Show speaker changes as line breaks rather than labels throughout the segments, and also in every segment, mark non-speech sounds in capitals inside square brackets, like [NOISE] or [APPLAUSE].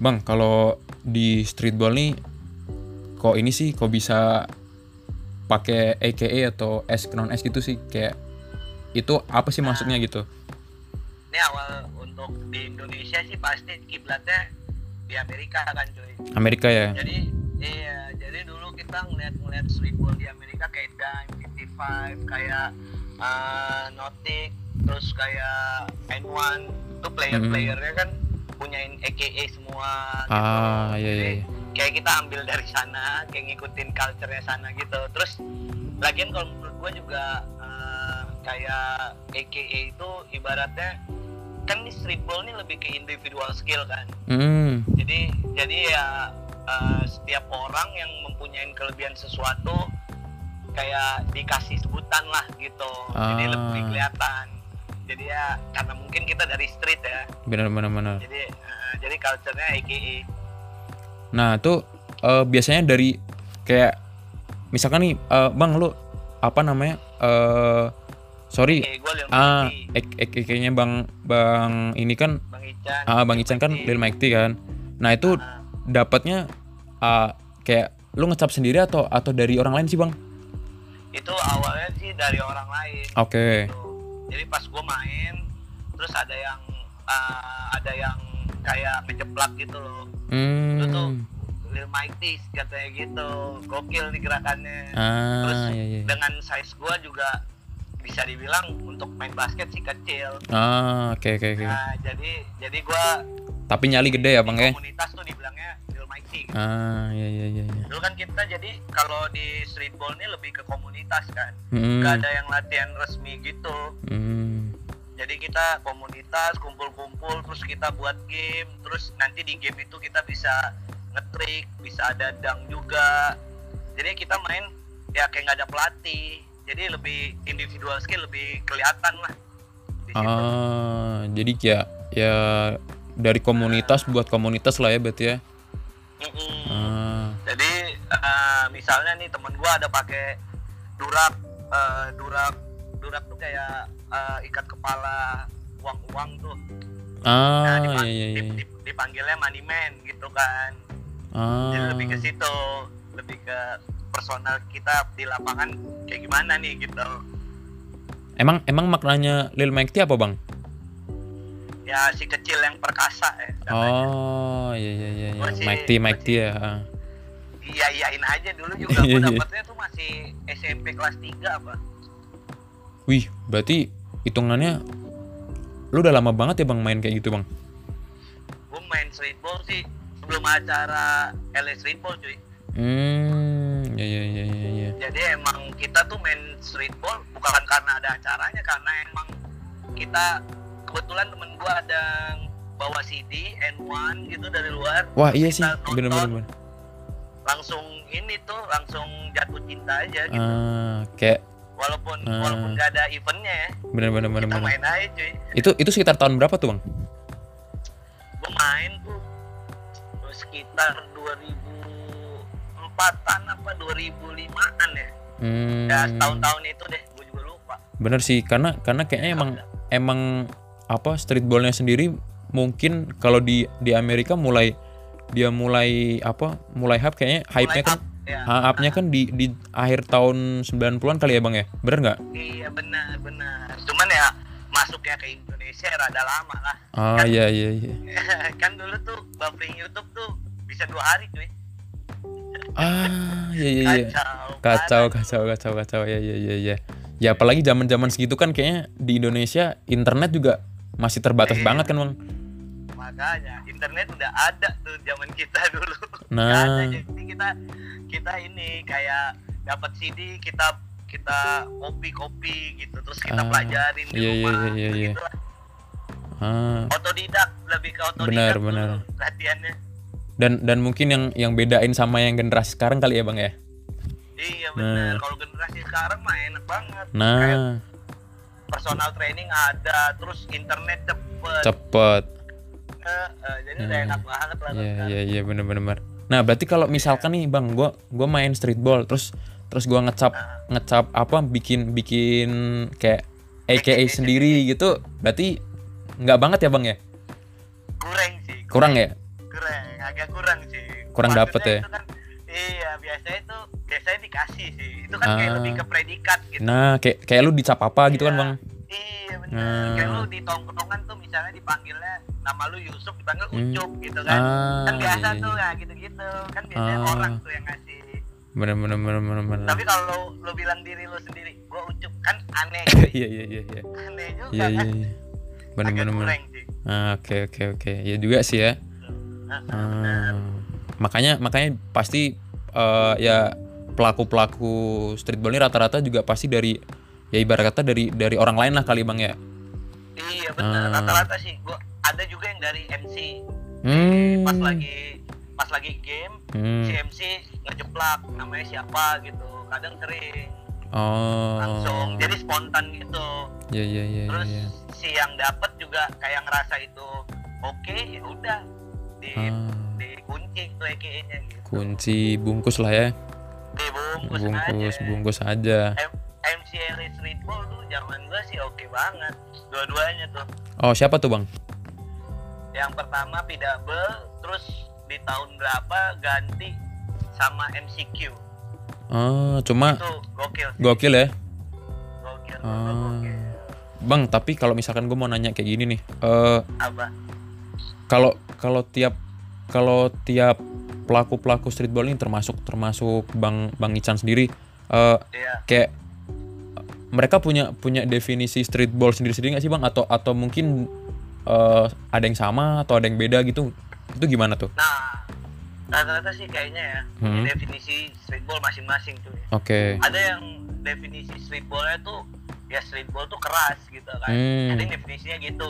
Bang, kalau di streetball nih kok ini sih kok bisa pakai AKA atau S non S gitu sih kayak itu apa sih maksudnya gitu?
Ini awal untuk di Indonesia sih pasti kiblatnya di Amerika kan cuy.
Amerika ya.
Jadi iya, jadi dulu kita ngeliat-ngeliat streetball di Amerika kayak Dime 55, kayak uh, Nautic, terus kayak N1 itu player-playernya kan punyain AKA semua gitu.
Ah, iya, iya,
Jadi,
iya.
kayak kita ambil dari sana, kayak ngikutin culture-nya sana gitu. Terus lagian kalau menurut gue juga eh, kayak AKA itu ibaratnya kan di streetball ini lebih ke individual skill kan.
Hmm.
Jadi jadi ya eh, setiap orang yang mempunyai kelebihan sesuatu kayak dikasih sebutan lah gitu. Jadi
Ah.
lebih kelihatan. Jadi ya karena mungkin kita dari street ya.
Benar benar benar.
Jadi eh, jadi culture-nya AKA.
Nah, itu eh, biasanya dari kayak misalkan nih eh, Bang lu apa namanya? eh sorry.
Kayak gue Lil
Ah,
Mighty,
AKA-nya Bang Bang ini kan
Bang Ican.
Ah, Bang Ican kan Lil Mighty kan. Nah, itu
Ah.
dapatnya ah, kayak lu ngecap sendiri atau atau dari orang lain sih, Bang?
itu awalnya sih dari orang lain
Oke.
gitu. jadi pas gue main terus ada yang eh, ada yang kayak kejeplak gitu loh itu tuh
Hmm.
Lil Mighty katanya gitu gokil nih gerakannya terus
Ah, iya iya.
dengan size gue juga bisa dibilang untuk main basket sih kecil
Ah, oke oke oke.
nah jadi jadi gue
Tapi nyali gede ya, Bang ya?
komunitas tuh dibilangnya Lil Mighty
Ah, iya iya iya iya.
dulu kan kita jadi kalau di streetball ini lebih ke komunitas kan
Hmm.
gak ada yang latihan resmi gitu
Hmm.
jadi kita komunitas kumpul-kumpul terus kita buat game terus nanti di game itu kita bisa ngetrik bisa ada dang juga jadi kita main ya kayak nggak ada pelatih jadi lebih individual skill lebih kelihatan lah di situ.
Ah, jadi kayak ya dari komunitas buat komunitas lah ya berarti ya.
Mm-mm.
Ah,
jadi eh, misalnya nih temen gua ada pakai durak eh, durak durak tuh kayak eh, ikat kepala uang-uang tuh
ah
Nah,
iya
dipan-
iya iya.
dip- dip- dipanggilnya money man gitu kan Jadi
Ah.
lebih ke situ, lebih ke personal kita di lapangan kayak gimana nih gitu.
Emang emang maknanya Lil Mighty apa, Bang?
Ya si kecil yang perkasa ya. katanya.
Oh, iya iya iya iya.
Gua sih-
Mighty
gua
Mighty ya. ah.
Iya iyain aja dulu juga gua
[LAUGHS] Iya, iya.
dapetnya tuh masih SMP kelas 3 apa.
Wih, berarti hitungannya lu udah lama banget ya, Bang, main kayak gitu, Bang.
Gua main streetball sih sebelum acara LA streetball cuy.
Hmm, iya iya iya iya iya.
Jadi emang kita tuh main streetball bukan karena ada acaranya karena emang kita kebetulan temen gua ada yang bawa CD N1 gitu dari luar.
Wah, iya
Terus
sih.
kita nonton,
Bener bener. bener.
langsung ini tuh langsung jatuh cinta aja gitu.
Ah, kayak
walaupun
Ah.
walaupun gak ada eventnya ya,
bener bener bener
kita
bener.
main aja cuy
Itu itu sekitar tahun berapa tuh, Bang?
gue main tuh sekitar 2004an apa 2005an ya
Hmm.
ya setahun-tahun itu deh gue juga lupa
Bener sih, karena karena
Ya.
kayaknya emang emang apa streetballnya sendiri mungkin kalau di di Amerika mulai dia mulai apa mulai hype kayaknya hype-nya kan
up, ya.
ah, up-nya kan di di akhir tahun 90-an kali ya Bang ya. Bener nggak?
iya benar benar cuman ya masuknya ke Indonesia ya rada lama lah [LAUGHS]
Ah iya iya iya.
kan dulu tuh buffering YouTube tuh bisa dua hari cuy
Ah iya iya iya.
kacau
Kacau
parah.
kacau kacau kacau ya ya ya ya. Ya apalagi zaman-zaman segitu kan kayaknya di Indonesia internet juga masih terbatas
Iya.
banget kan Bang.
makanya internet udah ada tuh zaman kita [LAUGHS] dulu
Nah.
Nggak ada, jadi kita kita ini kayak dapat CD kita kita kopi kopi gitu terus kita
Ah,
pelajarin di
iya, iya,
rumah
iya, iya, iya.
begitulah.
Ah
otodidak lebih ke otodidak
Benar,
dulu
benar.
latihannya
dan dan mungkin yang yang bedain sama yang generasi sekarang kali ya Bang ya.
iya benar kalau generasi sekarang mah enak banget kayak
Nah,
personal training ada terus internet cepet
cepet.
Eh, eh, jadi udah
Hmm.
enak banget lah
Iya,
sekarang.
iya, iya, bener-bener. Nah, berarti kalau misalkan nih, Bang, gua gua main streetball, terus terus gua ngecap ngecap apa bikin bikin kayak AKA sendiri gitu, berarti nggak banget ya, Bang ya?
kurang sih
Kurang ya?
kurang agak kurang sih
Kurang
Maksudnya
dapet ya?
itu kan- iya biasanya itu biasanya dikasih sih itu kan kayak
Ah.
lebih ke predikat gitu
Nah, kayak kayak lu dicap apa gitu kan,
Iya.
Bang?
iya bener
Ah.
kayak lu di tongkrongan tuh misalnya dipanggilnya nama lu Yusuf dipanggil
Hmm.
Ucup gitu kan
Ah,
kan biasa
iya, iya.
tuh ya gitu-gitu kan biasanya
Ah. Hmm.
orang tuh yang ngasih
bener bener bener bener bener.
tapi kalau lu bilang diri lu sendiri gua ucup kan
[LAUGHS]
aneh
Iya iya iya iya.
aneh juga
Iya iya.
kan
iya. Bener
agak
bener bener.
kurang sih
Ah, Oke oke oke. Ya juga sih ya.
Nah,
Ah, makanya makanya pasti eh, ya pelaku pelaku streetball ini rata-rata juga pasti dari ya ibarat kata dari dari orang lain lah kali bang ya.
iya bener
Ah.
rata-rata sih gua ada juga yang dari MC
Hmm.
pas lagi pas lagi game
Hmm.
si MC ngejeplak namanya siapa gitu kadang sering
Oh.
langsung jadi spontan gitu
Ya ya ya ya.
terus
ya.
si yang dapet juga kayak ngerasa itu oke ya udah di
Ah.
dikunci tuh EKE-nya gitu
Kunci bungkus lah ya.
dibungkus,
Bungkus
aja
bungkus aja.
M- MC Elis Streetball tuh zaman gua sih oke banget dua-duanya tuh
Oh siapa tuh bang?
yang pertama Pidabel terus di tahun berapa ganti sama MCQ
Oh cuma
tuh gokil sih.
gokil ya.
gokil
Ah.
gokil
Bang tapi kalau misalkan gue mau nanya kayak gini nih. Eh
apa
kalau kalau tiap kalau tiap pelaku pelaku streetball ini termasuk termasuk bang bang Ican sendiri eh,
ya
kayak eh, mereka punya punya definisi streetball sendiri sendiri nggak sih bang atau atau mungkin eh, ada yang sama atau ada yang beda gitu itu gimana tuh
nah rata-rata sih kayaknya ya
Hmm.
definisi streetball masing-masing tuh ya.
oke
ada yang definisi streetballnya tuh ya streetball tuh keras gitu kan
Hmm.
ada yang definisinya gitu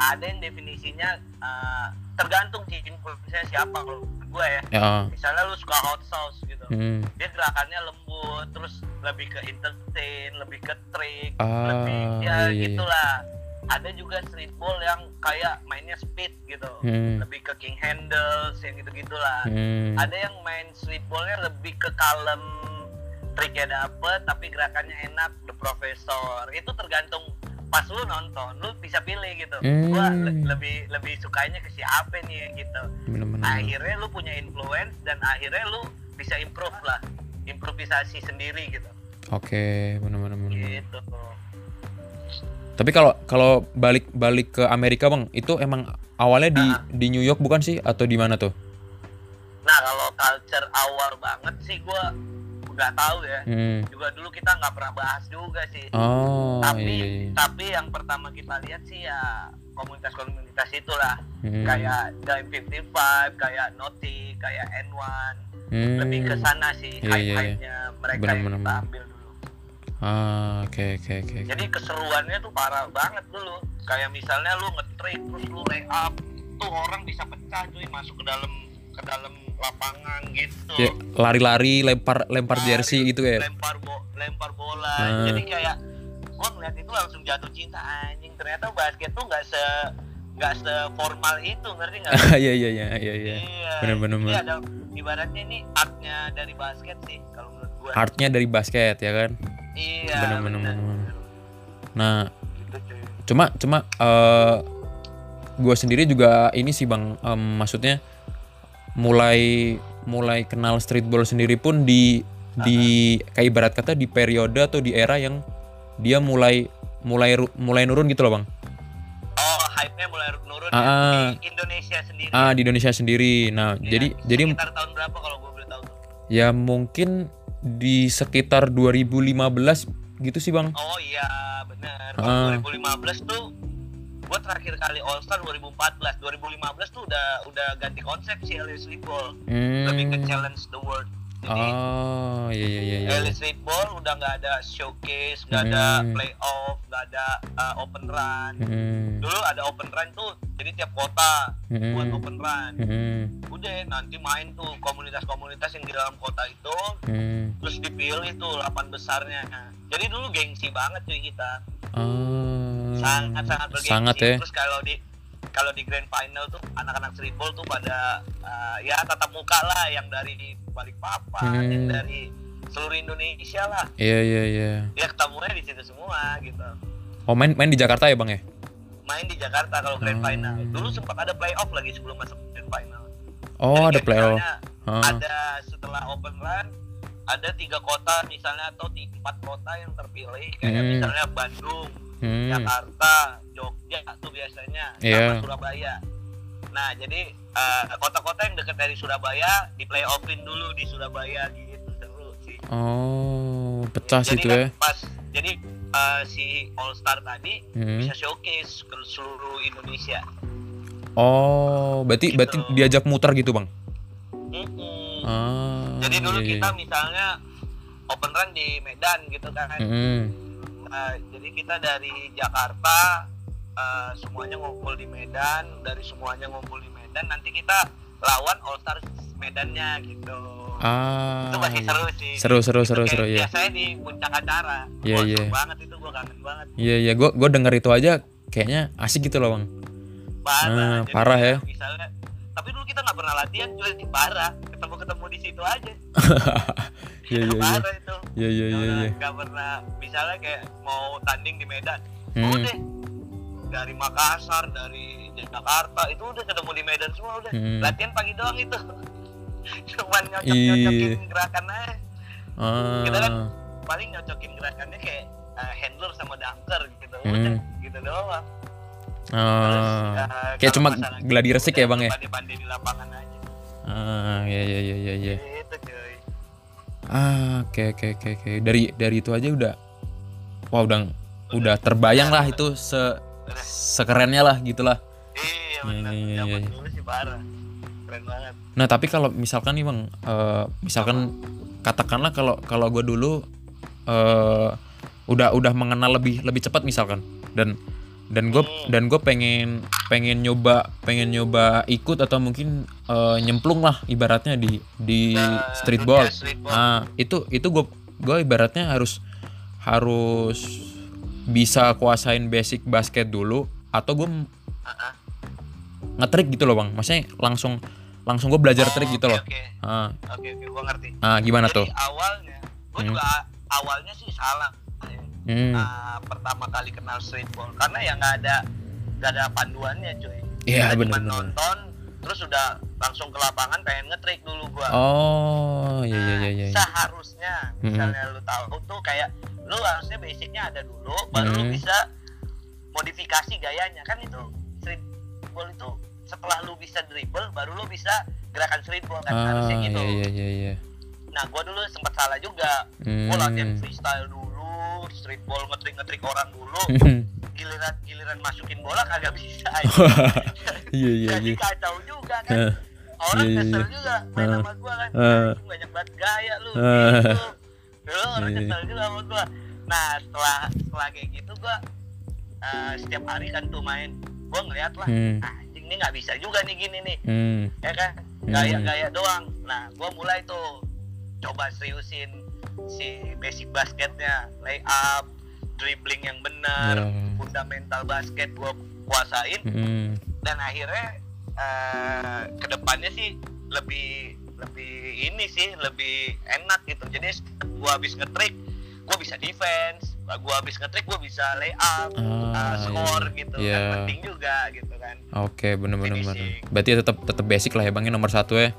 ada yang definisinya uh, tergantung sih influence siapa kalau menurut gua ya
ya
misalnya lu suka hot sauce gitu
hmm.
dia gerakannya lembut terus lebih ke entertain lebih ke trick
Ah,
lebih
iya,
ya
iya.
gitulah ada juga streetball yang kayak mainnya speed gitu
Hmm.
lebih ke king handles yang gitu gitulah
Hmm.
ada yang main streetballnya lebih ke kalem triknya dapet tapi gerakannya enak the professor itu tergantung pas lu nonton lu bisa pilih gitu gua
Hmm.
le- lebih lebih sukanya ke siapa nih gitu
bener-bener
akhirnya lu punya influence dan akhirnya lu bisa improve lah improvisasi sendiri gitu
oke bener-bener bener-bener.
gitu
tapi kalau kalau balik balik ke Amerika bang itu emang awalnya di di New York bukan sih atau di mana tuh
nah kalau culture awal banget sih gua nggak tahu ya
hmm.
juga dulu kita nggak pernah bahas juga sih
oh
tapi
iya, iya, iya.
tapi yang pertama kita lihat sih ya komunitas-komunitas itulah
Hmm.
kayak Dime 55 kayak Noti kayak N1
Hmm.
lebih ke sana sih
Iya, iya, iya.
hype-hype-nya mereka
Bener,
yang
bener,
kita
bener.
ambil dulu
Ah, oke oke oke.
jadi keseruannya tuh parah banget dulu kayak misalnya lu ngetrik terus lu lay up tuh orang bisa pecah cuy masuk ke dalam ke dalam lapangan gitu
Ya, lari-lari, lempar lempar
Lari,
jersey gitu ya.
lempar bo- lempar bola
Ah.
jadi kayak gua ngeliat itu langsung jatuh cinta anjing ternyata basket tuh nggak se nggak seformal itu ngerti nggak
Iya iya iya iya [LAUGHS] iya. Bener, bener,
jadi
bener.
ada ibaratnya ini artnya dari basket sih kalau menurut gua
Artnya dari basket ya kan.
iya
bener, bener,
bener.
bener. Nah,
Gitu, cuy.
cuma cuma eh gue sendiri juga ini sih bang, em, maksudnya mulai mulai kenal streetball sendiri pun di di kayak ibarat kata di periode atau di era yang dia mulai mulai ru- mulai nurun gitu loh bang.
oh hype-nya mulai nurun ya,
Ah, ah.
di Indonesia sendiri
Ah di Indonesia sendiri. Nah
Iya,
jadi jadi
sekitar tahun berapa kalau gue boleh tahu tuh?
Ya mungkin di sekitar 2015 gitu sih bang.
oh iya bener
Ah.
Kalau 2015 tuh gue terakhir kali All Star 2014 2015 tuh udah udah ganti konsep si LA Streetball lebih ke challenge the world jadi
Hmm. Oh iya iya iya. iya.
LA Streetball udah nggak ada showcase nggak ada
Hmm.
playoff nggak ada uh, open run
Hmm,
dulu ada open run tuh jadi tiap kota buat
hmm,
open run
hmm,
udah nanti main tuh komunitas-komunitas yang di dalam kota itu
hmm.
terus dipilih tuh 8 besarnya jadi dulu gengsi banget cuy kita
Ah,
sangat sangat bergengsi
sangat ya.
terus kalau di kalau di grand final tuh anak-anak streetball tuh pada eh, ya tatap muka lah yang dari Balikpapan
Hmm.
yang dari seluruh Indonesia lah
Iya iya iya.
ya ketemunya di situ semua gitu
Oh main main di Jakarta ya bang ya?
main di Jakarta kalau grand
Hmm.
final dulu sempat ada playoff lagi sebelum masuk grand final
Oh, ada
Jadi kayak
playoff.
[LAUGHS] misalnya
Heeh.
Ada setelah open run ada tiga kota misalnya atau ti- empat kota yang terpilih kayak
Hmm.
misalnya Bandung,
Hmm.
Jakarta, Jogja tuh biasanya
Iya.
sama Surabaya. Nah, jadi eh, kota-kota yang dekat dari Surabaya di playoffin dulu di Surabaya gitu seru sih.
Oh, pecah
jadi
situ
kan
ya.
pas jadi eh, si All Star tadi
Hmm.
bisa showcase ke seluruh Indonesia.
Oh, berarti berarti
Gitu.
diajak muter gitu, Bang.
Mm-mm.
Ah.
Jadi dulu
iya, iya.
kita misalnya open run di Medan gitu kan.
Mm-mm.
Nah, jadi kita dari Jakarta eh, semuanya ngumpul di Medan, dari semuanya ngumpul di Medan nanti kita lawan All Stars Medannya gitu.
Ah.
itu masih
iya.
seru sih.
Seru seru
Itu
seru
kayak
seru ya.
Biasanya di puncak acara.
Iya,
Wah, seru
iya.
banget itu gua kangen banget.
Iya iya, gua gua denger itu aja kayaknya asik gitu loh, Bang. [LAUGHS]
Parah.
Ah,
Jadi
parah ya.
Misalnya tapi dulu kita nggak pernah latihan cuy di parah ketemu ketemu di situ aja
Iya iya iya.
parah itu
Iya iya iya iya.
nggak pernah misalnya kayak mau tanding di Medan
Hmm.
mau deh dari Makassar dari Jakarta itu udah ketemu di Medan semua udah
Hmm.
latihan pagi doang itu [LAUGHS] cuman nyocok nyocokin gerakan aja kita kan
Iya. Ah.
paling nyocokin gerakannya kayak eh, handler sama dunker gitu
Hmm.
udah gitu doang Terus,
Ah.
eh,
Kayak
kalau
cuma
masalah
gladi
gitu,
resik
udah
ya, Bang, ya?
pandai-pandai di lapangan aja
Ah, iya iya iya iya iya.
gitu cuy
Ah, oke oke oke oke. Dari dari itu aja udah wah udah udah terbayang lah itu se sekerennya lah gitulah.
iya
Iya,
benar
iya, iya,
zaman
iya.
dulu sih parah keren banget
Nah, tapi kalau misalkan nih Bang, eh, misalkan katakanlah kalau kalau gue dulu eh udah udah mengenal lebih lebih cepat misalkan dan dan gue dan gue pengen pengen nyoba pengen nyoba ikut atau mungkin eh, nyemplung lah ibaratnya di di
Nah,
streetball
dunia streetball.
Nah, itu itu gue gue ibaratnya harus harus bisa kuasain basic basket dulu atau gue
Ah, ah.
ngetrik gitu loh bang, maksudnya langsung langsung gue belajar trik gitu
Oke,
loh.
oke
Ah,
oke oke gua ngerti
ah, gimana tuh?
Jadi awalnya, gue
Hmm.
juga a- awalnya sih salah. Eh,
Hmm,
Nah, pertama kali kenal streetball karena ya nggak ada nggak ada panduannya cuy.
Iya,
Kita cuma
bener-bener.
nonton, terus udah langsung ke lapangan pengen ngetrik dulu gua.
Oh, iya iya iya iya.
Seharusnya
Hmm.
misalnya lu tahu tuh kayak lu harusnya basicnya ada dulu, baru
Hmm.
lu bisa modifikasi gayanya kan itu streetball itu setelah lu bisa dribble baru lu bisa gerakan streetball kan
Ah,
harusnya gitu.
iya iya iya iya. [LAUGHS]
Nah, gua dulu sempat salah juga. Gua latihan
Hmm.
freestyle dulu, streetball ngetrik-ngetrik orang
[LAUGHS]
dulu, giliran giliran masukin bola kagak bisa.
Iya iya
Jadi
iya.
kacau juga
Ah,
kan. Orang
iya,
kesel
iya.
juga main
Ah.
sama gua kan.
Ah.
Anjing, banyak banget gaya lu.
Ah.
gitu. Lu orang
Iya, iya.
kesel juga sama gua. Nah, setelah setelah kayak gitu gua eh, setiap hari kan tuh main. Gua ngeliat lah,
Hmm.
anjing ini nggak bisa juga nih gini nih
Hmm.
ya kan gaya-gaya doang nah gua mulai tuh coba seriusin si basic basketnya layup dribbling yang benar
Ya.
fundamental basket gua kuasain
Hmm.
dan akhirnya eh, kedepannya sih lebih lebih ini sih lebih enak gitu jadi setiap gua habis ngetrik gua bisa defense gua habis ngetrik gua bisa layup
Ah,
eh, score gitu
iya.
kan penting juga gitu kan
Oke, bener bener bener.
Finishing.
Berarti tetap tetap basic lah ya bang, ya, nomor satu ya.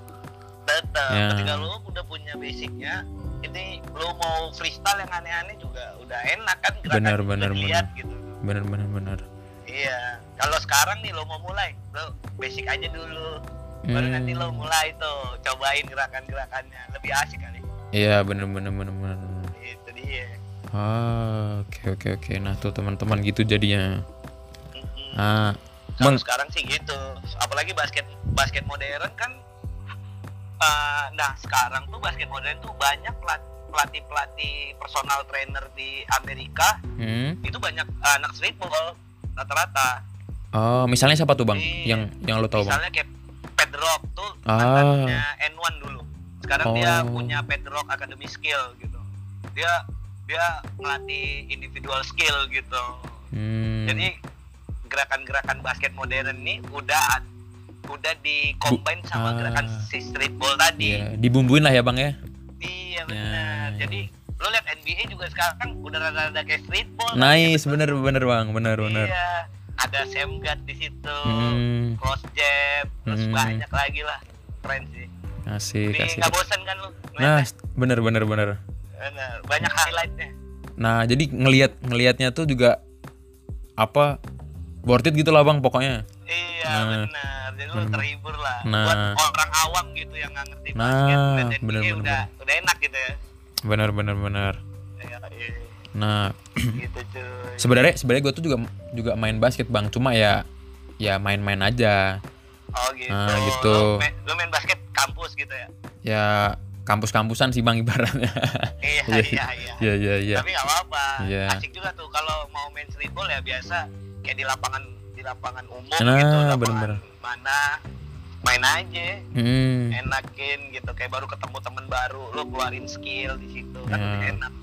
tetap
Ya.
ketika lu udah punya basicnya ini lu mau freestyle yang aneh-aneh juga udah enak kan gerakan
Benar,
juga
benar,
dilihat gitu
Bener bener bener.
iya kalau sekarang nih lu mau mulai lu basic aja dulu baru
Hmm.
nanti lu mulai tuh cobain gerakan-gerakannya lebih asik kali
Iya bener bener bener bener. bener.
itu dia
Ah, oke oke oke. Nah tuh teman-teman gitu jadinya.
Mm-mm.
Ah,
kalau
bang.
sekarang sih gitu apalagi basket basket modern kan eh, nah sekarang tuh basket modern tuh banyak pelatih pelatih personal trainer di Amerika
Hmm?
itu banyak anak streetball rata-rata
Oh, misalnya siapa tuh bang?
Iya.
Yang yang lo Oh, tahu bang?
misalnya kayak Pedrock tuh
Ah.
mantannya N1 dulu sekarang dia
Oh.
punya Pedrock Academy Skill gitu dia dia ngelatih individual skill gitu
Hmm.
jadi gerakan-gerakan basket modern nih udah udah di combine sama
ah.
gerakan si streetball tadi
Iya, dibumbuin lah ya bang ya.
iya
Ya,
benar
ya.
jadi lo lihat NBA juga sekarang udah rada-rada kayak streetball
Hmm, Nice, bener bener bang, bener bener.
Iya, ada Semgat di situ,
Hmm.
cross jab, terus
Hmm.
banyak lagi lah. keren sih
Asik,
jadi
asik.
nggak bosan kan lu
Nah,
ngeliatnya?
bener bener bener.
Nah, banyak highlightnya
Nah, jadi ngelihat ngelihatnya tuh juga apa worth it gitu lah bang pokoknya.
iya
Nah.
benar jadi lu terhibur lah
Nah.
buat orang awam gitu yang nggak ngerti
Nah,
basket ngeliat NBA
bener, bener,
udah udah enak gitu ya
Bener bener bener.
Iya,
[CLEARS THROAT]
iya.
Nah,
gitu cuy
sebenarnya sebenarnya gue tuh juga juga main basket bang, cuma ya ya main-main aja.
oh gitu,
Nah, gitu.
Lu, main, lu main basket kampus gitu ya
Ya kampus-kampusan sih bang [LAUGHS] ibaratnya.
iya
Iya.
iya iya
Iya iya iya.
tapi nggak apa-apa
Iya.
asik juga tuh kalau mau main streetball ya biasa kayak di lapangan di lapangan umum
Nah,
gitu lapangan
bener-bener.
mana main aja
Hmm.
enakin gitu kayak baru ketemu temen baru lo keluarin skill di situ kan
Ya.
lebih enak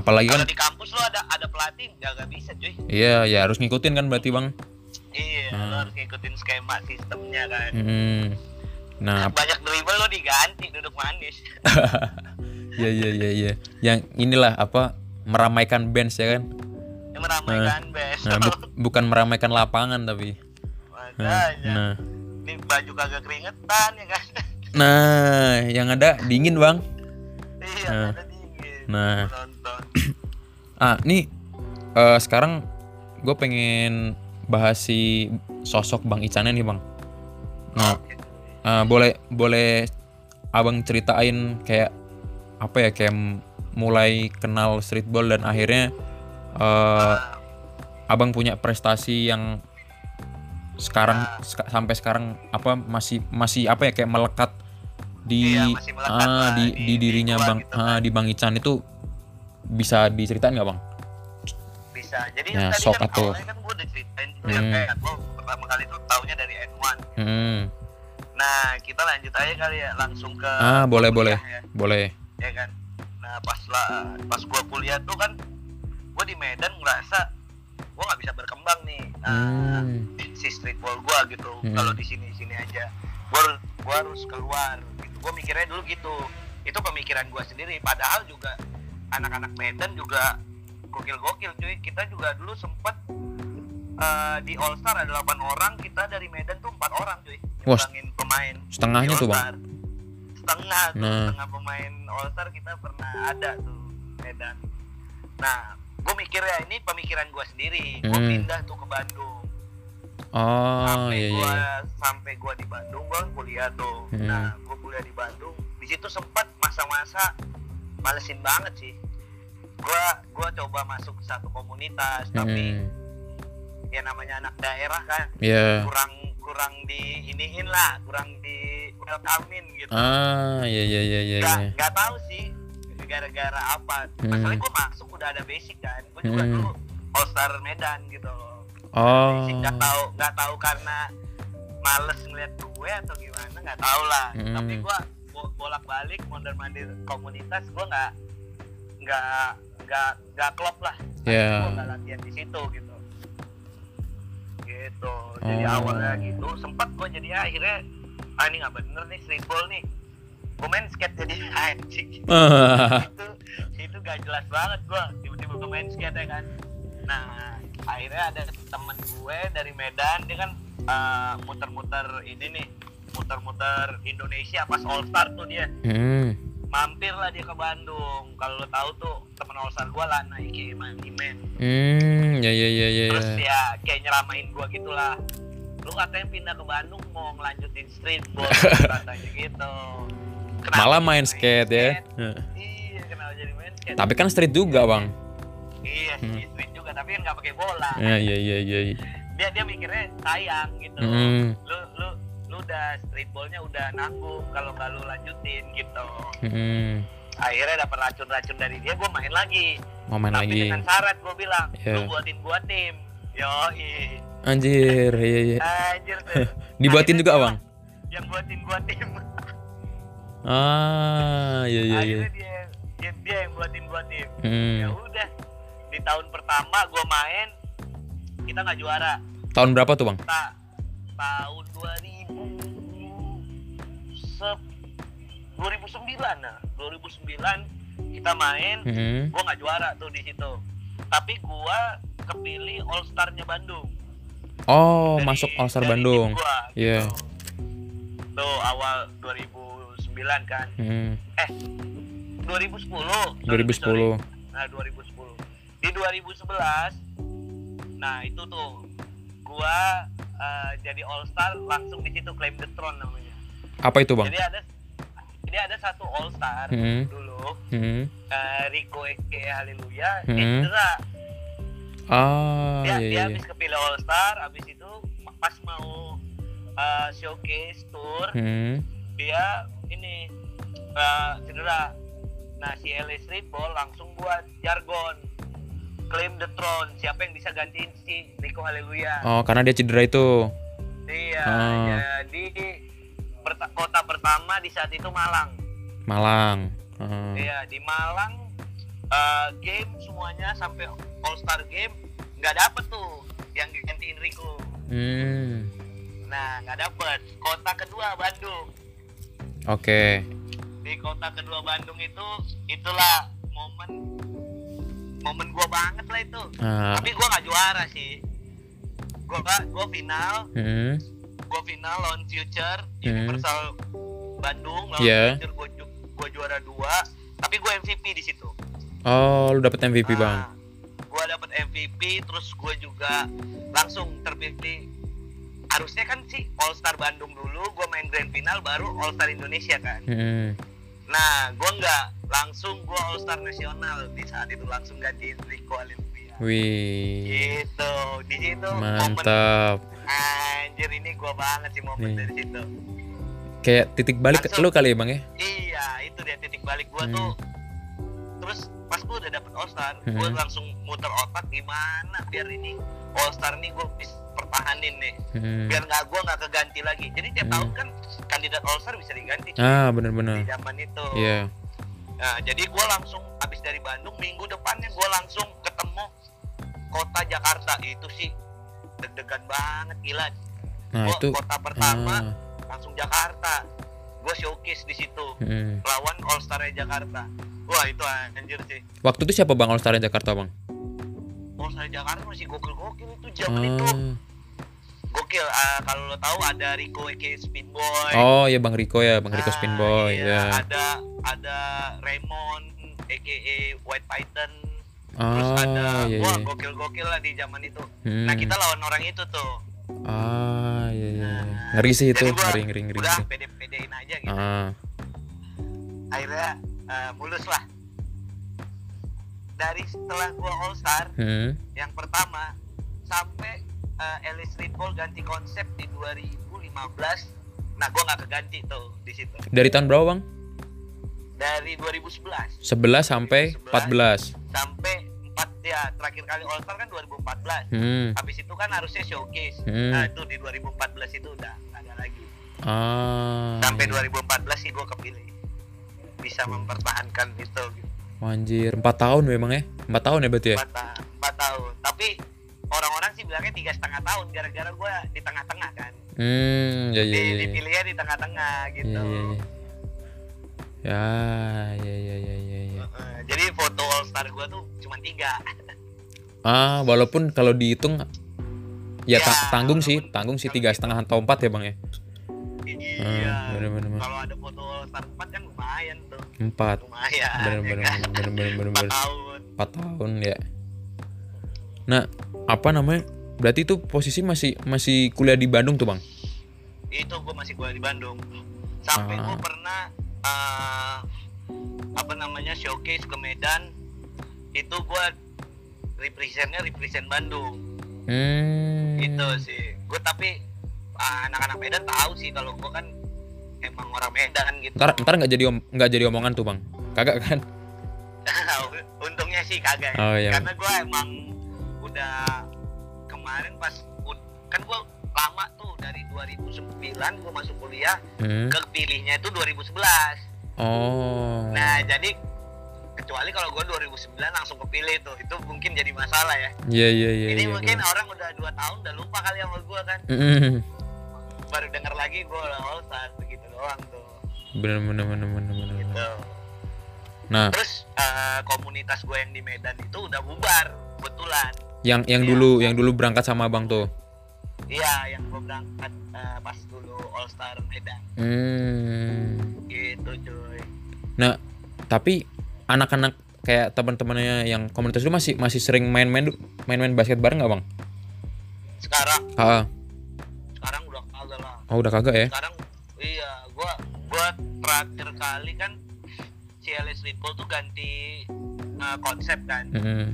Apalagi kan
kalau di kampus lo ada ada pelatih nggak nggak bisa cuy
iya ya harus ngikutin kan berarti bang.
iya lo harus ngikutin skema sistemnya kan
Hmm. Nah,
banyak dribble lo diganti duduk manis [LAUGHS]
ya ya ya ya. Yang inilah apa meramaikan bench ya kan.
yang kan, meramaikan best
Nah, bu- bukan meramaikan lapangan tapi.
[LAUGHS] makanya
Nah.
ini baju kagak keringetan ya kan [LAUGHS]
Nah, yang ada dingin, Bang.
iya ada dingin
Eh, Nah.
nonton
Ah, nih eh, sekarang gue pengen bahas si sosok Bang Icannya nih, Bang. Nah, eh, boleh boleh Abang ceritain kayak apa ya kayak m- mulai kenal streetball dan akhirnya eh, Abang punya prestasi yang sekarang ska- sampai sekarang apa masih masih apa ya kayak melekat di
Iya, masih melekat
ah,
lah
di,
di-
di
di
dirinya
gua
bang
gitu
ah, di bang Ican itu bisa diceritain nggak bang?
bisa jadi
Ya,
tadi
sok
kan
atau-
awalnya kan gue udah ceritain tuh yang
Hmm.
kayak gue pertama kali tuh taunya dari N1
Hmm.
nah kita lanjut aja kali ya langsung ke
Ah boleh boleh
kuliah ya,
boleh.
ya kan nah pas lah pas gue kuliah tuh kan gue di Medan ngerasa gue nggak bisa berkembang nih nah,
Hmm.
si streetball gue gitu
Hmm.
kalau di sini sini aja gue gua harus keluar gitu. gue mikirnya dulu gitu itu pemikiran gue sendiri padahal juga anak-anak Medan juga gokil-gokil cuy kita juga dulu sempet eh, di All Star ada 8 orang kita dari Medan tuh empat orang cuy
Wah,
nyumbangin pemain
Setengahnya tuh bang.
All-Star. Setengah tuh,
Nah.
setengah pemain All Star kita pernah ada tuh Medan. Nah, gue mikir ya ini pemikiran gue sendiri. Gue
Hmm.
pindah tuh ke Bandung.
Oh
sampai
iya
gua
iya.
sampai gua di Bandung gue kuliah tuh.
Hmm.
Nah, gue kuliah di Bandung. Di situ sempat masa-masa malesin banget sih. Gue gua coba masuk satu komunitas, tapi
Hmm.
ya namanya anak daerah kan
Iya.
kurang kurang di iniin lah, kurang di welcomein gitu.
Ah iya iya iya iya.
nggak
iya.
nggak tahu sih gara-gara apa
Hmm.
masalahnya gue masuk udah ada basic kan gue juga
Hmm.
dulu all star Medan gitu loh
Oh.
basic nggak tahu nggak tahu karena males ngeliat gue atau gimana nggak tahu lah
Hmm.
tapi gue bolak balik mondar mandir komunitas gue nggak nggak nggak nggak klop lah
Ya.
gue nggak latihan di situ gitu gitu jadi
Oh.
awalnya gitu sempet gue jadi akhirnya ah ini nggak bener nih streetball nih gue main skate jadi [LAUGHS] anjing
Oh.
itu itu gak jelas banget gua tiba-tiba ke main skate ya kan nah akhirnya ada temen gue dari Medan dia kan eh, muter-muter ini nih muter-muter Indonesia pas All Star tuh dia
[LAUGHS] Hmm.
mampirlah dia ke Bandung kalau lo tahu tuh temen All Star gue lah naik Iman
Hmm. Ya ya ya ya.
terus
ya.
ya kayak nyeramain gue gitulah lu katanya pindah ke Bandung mau ngelanjutin streetball
[LAUGHS]
katanya gitu Kenapa
Malah
jadi
main skate ya. Heeh.
iya kenapa jadi main skate
Tapi kan street juga bang.
Iya sih,
Hmm.
sweet juga tapi kan nggak pakai bola.
Ya ya ya ya. ya.
Dia dia mikirnya sayang gitu.
Hmm.
Lu lu lu udah streetballnya udah nanggung kalau nggak lu lanjutin gitu.
Hmm.
Akhirnya dapat racun-racun dari dia, gue main lagi.
Mau main
tapi
lagi.
dengan syarat gue bilang,
Iya.
lu buatin gua tim. Yoi,
Anjir. Iya iya.
anjir tuh.
[LAUGHS] Dibuatin
Akhirnya
juga
dia-
bang.
Yang buatin gua tim.
Ah iya iya iya.
Akhirnya dia, dia dia yang buatin gua tim. Ya
Hmm.
udah, di tahun pertama gue main kita nggak juara.
Tahun berapa tuh bang?
Ta tahun 2000 se- 2009 nah 2009 kita main
Hmm.
gua nggak juara tuh di situ tapi gua kepilih All Star-nya Bandung
Oh
Dari-
masuk All Star
dari tim
Bandung.
gua,
Iya.
gitu. itu awal 2009 kan
Hmm,
eh 2010 sorry,
2010.
sorry. nah 2010 di 2011 nah itu tuh gua eh, jadi all star langsung di situ claim the throne namanya
Apa itu bang?
jadi ada jadi ada satu all star
Hmm.
dulu
Hmm.
eh, Rico Eke Haleluya
Hmm.
dia cedera
Ah,
dia,
iya,
dia
iya, iya.
habis kepilih all star habis itu pas mau eh, showcase tour
Hmm.
dia ini eh, cedera nah si Ellis Ribol langsung buat jargon claim the throne siapa yang bisa gantiin si Rico Haleluya
Oh, karena dia cedera itu.
dia
Ah.
jadi perta- kota pertama di saat itu Malang
Malang. Hmm.
Iya di Malang eh, game semuanya sampai All Star game nggak dapet tuh yang gantiin Rico
Hmm.
nah nggak dapet kota kedua Bandung
Oke.
di kota kedua Bandung itu itulah momen momen gua banget lah itu
Ah.
tapi gua nggak juara sih gua gua final
Hmm.
gua final lawan Future
Hmm.
Universal Bandung lawan
Iya.
Future gua, ju- gua juara dua tapi gua MVP di situ
Oh, lu dapet MVP bang.
Ah, gua dapet MVP terus gua juga langsung terpilih harusnya kan sih All Star Bandung dulu gua main grand final baru All Star Indonesia kan
Hmm.
Nah, gue nggak langsung gue All Star Nasional di saat itu langsung gantiin Rico Olimpia.
Wih.
Gitu, di situ momen
Mantap.
anjir ini gue banget sih
Nih.
momen dari situ.
Kayak titik balik
Langsung.
lu kali ya bang ya?
Iya, itu dia titik balik gue
Hmm.
tuh. Terus pas gue udah dapet All Star, gue
Hmm.
langsung muter otak gimana biar ini All Star nih gue bisa pertahanin nih.
Hmm.
Biar nggak gue nggak keganti lagi. Jadi tiap
Hmm.
tahun kan kandidat All Star bisa diganti
Ah,
di
bener-bener.
zaman itu.
Iya.
Nah, jadi gue langsung habis dari Bandung minggu depannya gue langsung ketemu kota Jakarta itu sih deg-degan banget gila.
Nah
Gua
itu.
kota Oh, pertama
Ah.
langsung Jakarta. Gue showcase di situ
Hmm.
lawan All Star Jakarta. Wah itu anjir sih.
Waktu itu siapa bang All Star Jakarta bang?
All Star Jakarta masih gokil-gokil itu zaman itu.
Ah.
Gokil. Ah, kalau lo tahu ada Rico Eke Speedboy.
Oh ya bang Rico ya, bang Rico
Ah,
Spinboy
iya.
ya.
Ada ada Raymond aka White Python. Terus ada
Ah, iya
wah
iya.
gokil-gokil lah di zaman itu.
Hmm.
Nah, kita lawan orang itu tuh. Nah,
Ah, iya, iya. iya. Ngeri sih itu,
Jadi gua
ngeri ngeri ngeri.
Udah
ngeri.
pede-pedein aja gitu.
Ah,
Akhirnya eh, mulus lah. Dari setelah gua All Star
hmm.
yang pertama sampai eh, Ellis Ritbol ganti konsep di 2015. Nah, gua nggak keganti tuh di situ.
Dari tahun berapa bang?
Dari 2011
11 sampai 14.
sampai 4 ya terakhir kali All Star kan 2014.
Hmm.
Habis itu kan harusnya showcase.
Hmm.
Nah, itu di 2014 itu udah nggak ada lagi.
Ah.
sampai
iya.
2014 sih gue kepilih bisa mempertahankan itu gitu.
Anjir, 4 tahun memang ya? 4 tahun ya berarti ya?
empat, ta- empat tahun tapi orang-orang sih bilangnya tiga setengah tahun gara-gara gue di tengah-tengah kan
Hmm, ya ya
Di-
ya. ya.
dipilihnya di tengah-tengah gitu
Ya, ya, ya. Ya, ya, ya, ya, ya.
Heeh, jadi foto all star gue tuh cuma tiga [LAUGHS]
Ah, walaupun kalau dihitung ya,
Ya,
ta- tanggung sih,
walaupun
tanggung sih
kalau
tiga setengah atau empat ya bang ya?
iya
Hmm, bener, bener, bener.
kalau ada foto all star empat kan lumayan tuh
Empat.
lumayan
Bener
ya
bener
kan?
bener bener bener bener.
empat
bener.
tahun
4 tahun ya. Nah, apa namanya? Berarti itu posisi masih masih kuliah di Bandung tuh, Bang.
itu gue masih kuliah di Bandung sampai
Ah.
gue pernah eh, apa namanya showcase ke Medan itu gue representnya represent Bandung
Hmm.
itu sih gue tapi ah, anak-anak Medan tahu sih kalau gue kan emang orang Medan gitu [LAUGHS]
Ntar ntar nggak jadi om- nggak jadi omongan tuh, Bang. Kagak kan?
untungnya sih kagak ya.
Oh, iya.
karena gue emang udah kemarin pas ud- kan gue lama tuh dari 2009 gue masuk kuliah
Hmm.
kepilihnya itu 2011
Oh.
Nah, jadi kecuali kalau gue 2009 langsung kepilih tuh, itu mungkin jadi masalah ya.
Iya iya iya.
Ini
iya,
mungkin
bener.
orang udah dua tahun udah lupa kali sama gue kan.
Mm-mm.
Baru denger lagi gue udah all star begitu doang tuh.
Bener bener bener bener bener. bener.
Gitu.
Nah,
Terus eh, komunitas gue yang di Medan itu udah bubar kebetulan.
yang yang
Iya.
dulu yang dulu berangkat sama Abang tuh.
Iya, yang gue gue berangkat eh, pas dulu All Star Medan
Hmm.
gitu cuy
Nah, tapi anak-anak kayak teman-temannya yang komunitas lu masih masih sering main-main main-main basket bareng nggak bang?
sekarang
Ah,
sekarang udah kagak lah
oh udah kagak ya?
sekarang iya gua gua terakhir kali kan CLS Streetball tuh ganti eh, konsep kan
Hmm,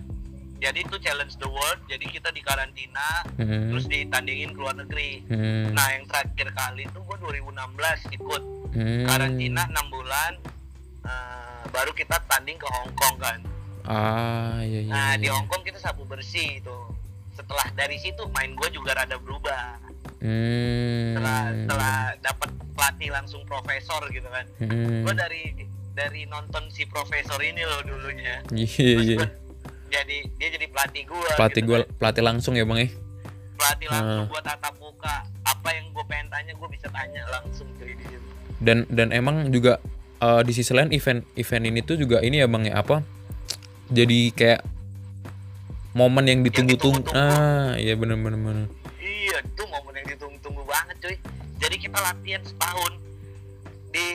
jadi itu challenge the world jadi kita di karantina
hmm,
terus ditandingin ke luar negeri
hmm,
nah yang terakhir kali itu gua 2016 ikut
hmm.
karantina enam bulan eh, baru kita tanding ke Hong Kong kan
Ah, iya iya.
nah di
iya.
Hong Kong kita sapu bersih itu setelah dari situ main gua juga rada berubah
Hmm.
setelah setelah dapat pelatih langsung profesor gitu kan
Hmm.
gue dari dari nonton si profesor ini loh dulunya
Iya
terus
iya.
gua jadi dia jadi pelatih gue
Pelatih gua pelatih langsung ya bang ya?
pelatih langsung
Hmm.
buat tatap muka apa yang gue pengen tanya gue bisa tanya langsung dari dia
dan dan emang juga eh, di sisi lain event event ini tuh juga ini ya bang ya apa jadi kayak momen yang ditunggu-tunggu
ditunggu-tunggu.
ah iya bener bener bener
iya itu momen yang ditunggu-tunggu banget cuy jadi kita latihan setahun di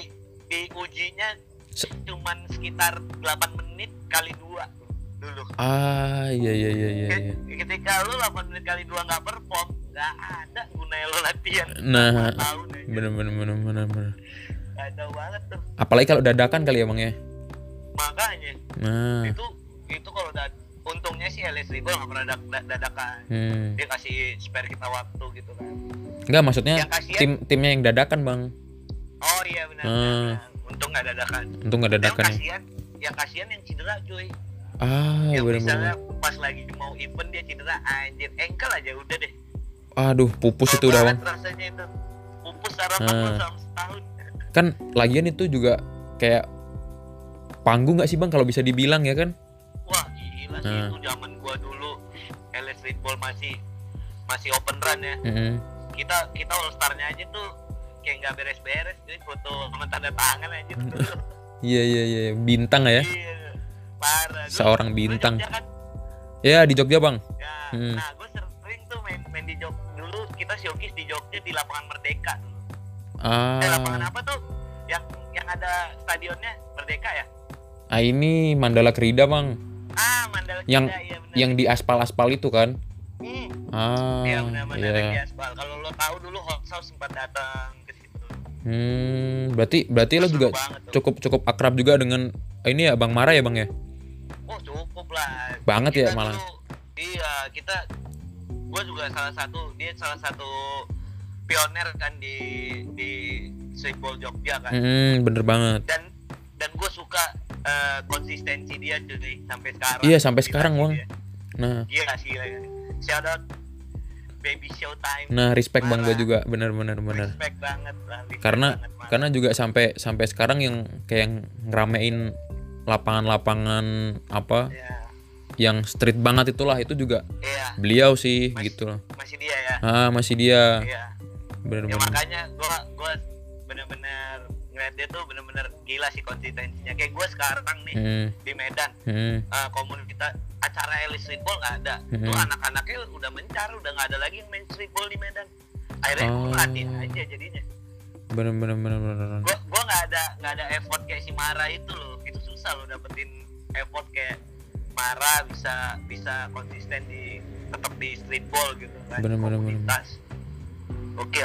di ujinya
Se-
cuman sekitar 8 menit kali dua dulu
ah iya iya iya iya, iya.
ketika lu 8 menit kali dua nggak perform nggak ada gunanya lu latihan
nah
tahun aja
bener bener bener bener bener
nggak ada banget tuh
apalagi kalau dadakan kali ya bang ya
makanya
nah
itu itu kalau dad- untungnya sih LS Ribo nggak pernah dak- da- dadakan
hmm.
dia kasih spare kita waktu gitu kan
nggak maksudnya
Yang kasihan-
tim timnya yang dadakan bang
oh iya benar
Hmm.
benar, benar. untung nggak dadakan
untung nggak
yang
dadakan ya
kasihan yang kasihan yang cedera cuy
ah
yang
bener
misalnya
bener
pas lagi mau event dia cedera anjir engkel aja udah deh
aduh pupus itu udah bang
Banget rasanya itu pupus sarapan
Hmm.
lu selama setahun
kan lagian itu juga kayak panggung nggak sih bang kalau bisa dibilang ya kan
wah gila sih
Hmm.
itu zaman gua dulu LS Streetball masih masih open run ya
Mm-mm.
kita kita all starnya aja tuh kayak nggak beres-beres jadi foto sama tanda tangan aja tuh [LAUGHS]
Iya iya iya bintang ya.
Iya, parah Gua-
Seorang
gua
bintang.
Jogja kan,
Ya di Jogja bang.
ya,
Hmm.
nah gue sering tuh main main di Jog dulu kita showcase di Jogja di lapangan Merdeka eh, lapangan
Ah,
apa tuh yang yang ada stadionnya Merdeka ya
ah ini Mandala Krida bang,
ah Mandala
Yang-
Cina, iya bener.
yang di aspal-aspal itu kan.
hmm.
Ah,
iya
iya.
benar-benar lagi aspal kalau lo tahu dulu Hot Sauce sempat datang ke situ
Hmm, berarti berarti lo
Seru
juga
banget tuh.
cukup cukup akrab juga dengan ini ya bang Mara ya bang ya.
oh cukup lah
Banget ya
Kita
malah.
dulu- iya kita gue juga salah satu dia salah satu pioner kan di di streetball Jogja kan
Hmm, bener banget.
dan dan gue suka eh, konsistensi dia jadi sampai sekarang
Iya, sampai
Gila
sekarang,
sih
Wang.
dia.
Nah,
Gila sih gila. shout out baby showtime
nah respect bang gue
Mara.
juga bener bener bener.
respect banget lah respect
Karena
banget, Mas.
karena juga sampai sampai sekarang yang kayak yang ngeramein lapangan-lapangan apa
Iya.
yang street banget itulah itu juga
iya
beliau sih
Mas-
gitu loh
masih dia ya
ah masih dia
iya ya
bener-bener
makanya gua gua bener-bener ngeliat dia tuh bener-bener gila sih konsistensinya kayak gua sekarang nih
hmm,
di Medan
hmm,
eh, komunitas acara elit streetball nggak ada
Hmm.
tuh anak-anaknya udah mencar udah nggak ada lagi yang main streetball di Medan akhirnya gua
Oh.
ngelatih aja jadinya
bener-bener bener-bener
gua gua nggak ada nggak ada effort kayak si Mara itu loh itu susah loh dapetin effort kayak Mara bisa bisa konsisten di tetap di streetball gitu kan
Bener, bener, bener.
komunitas oke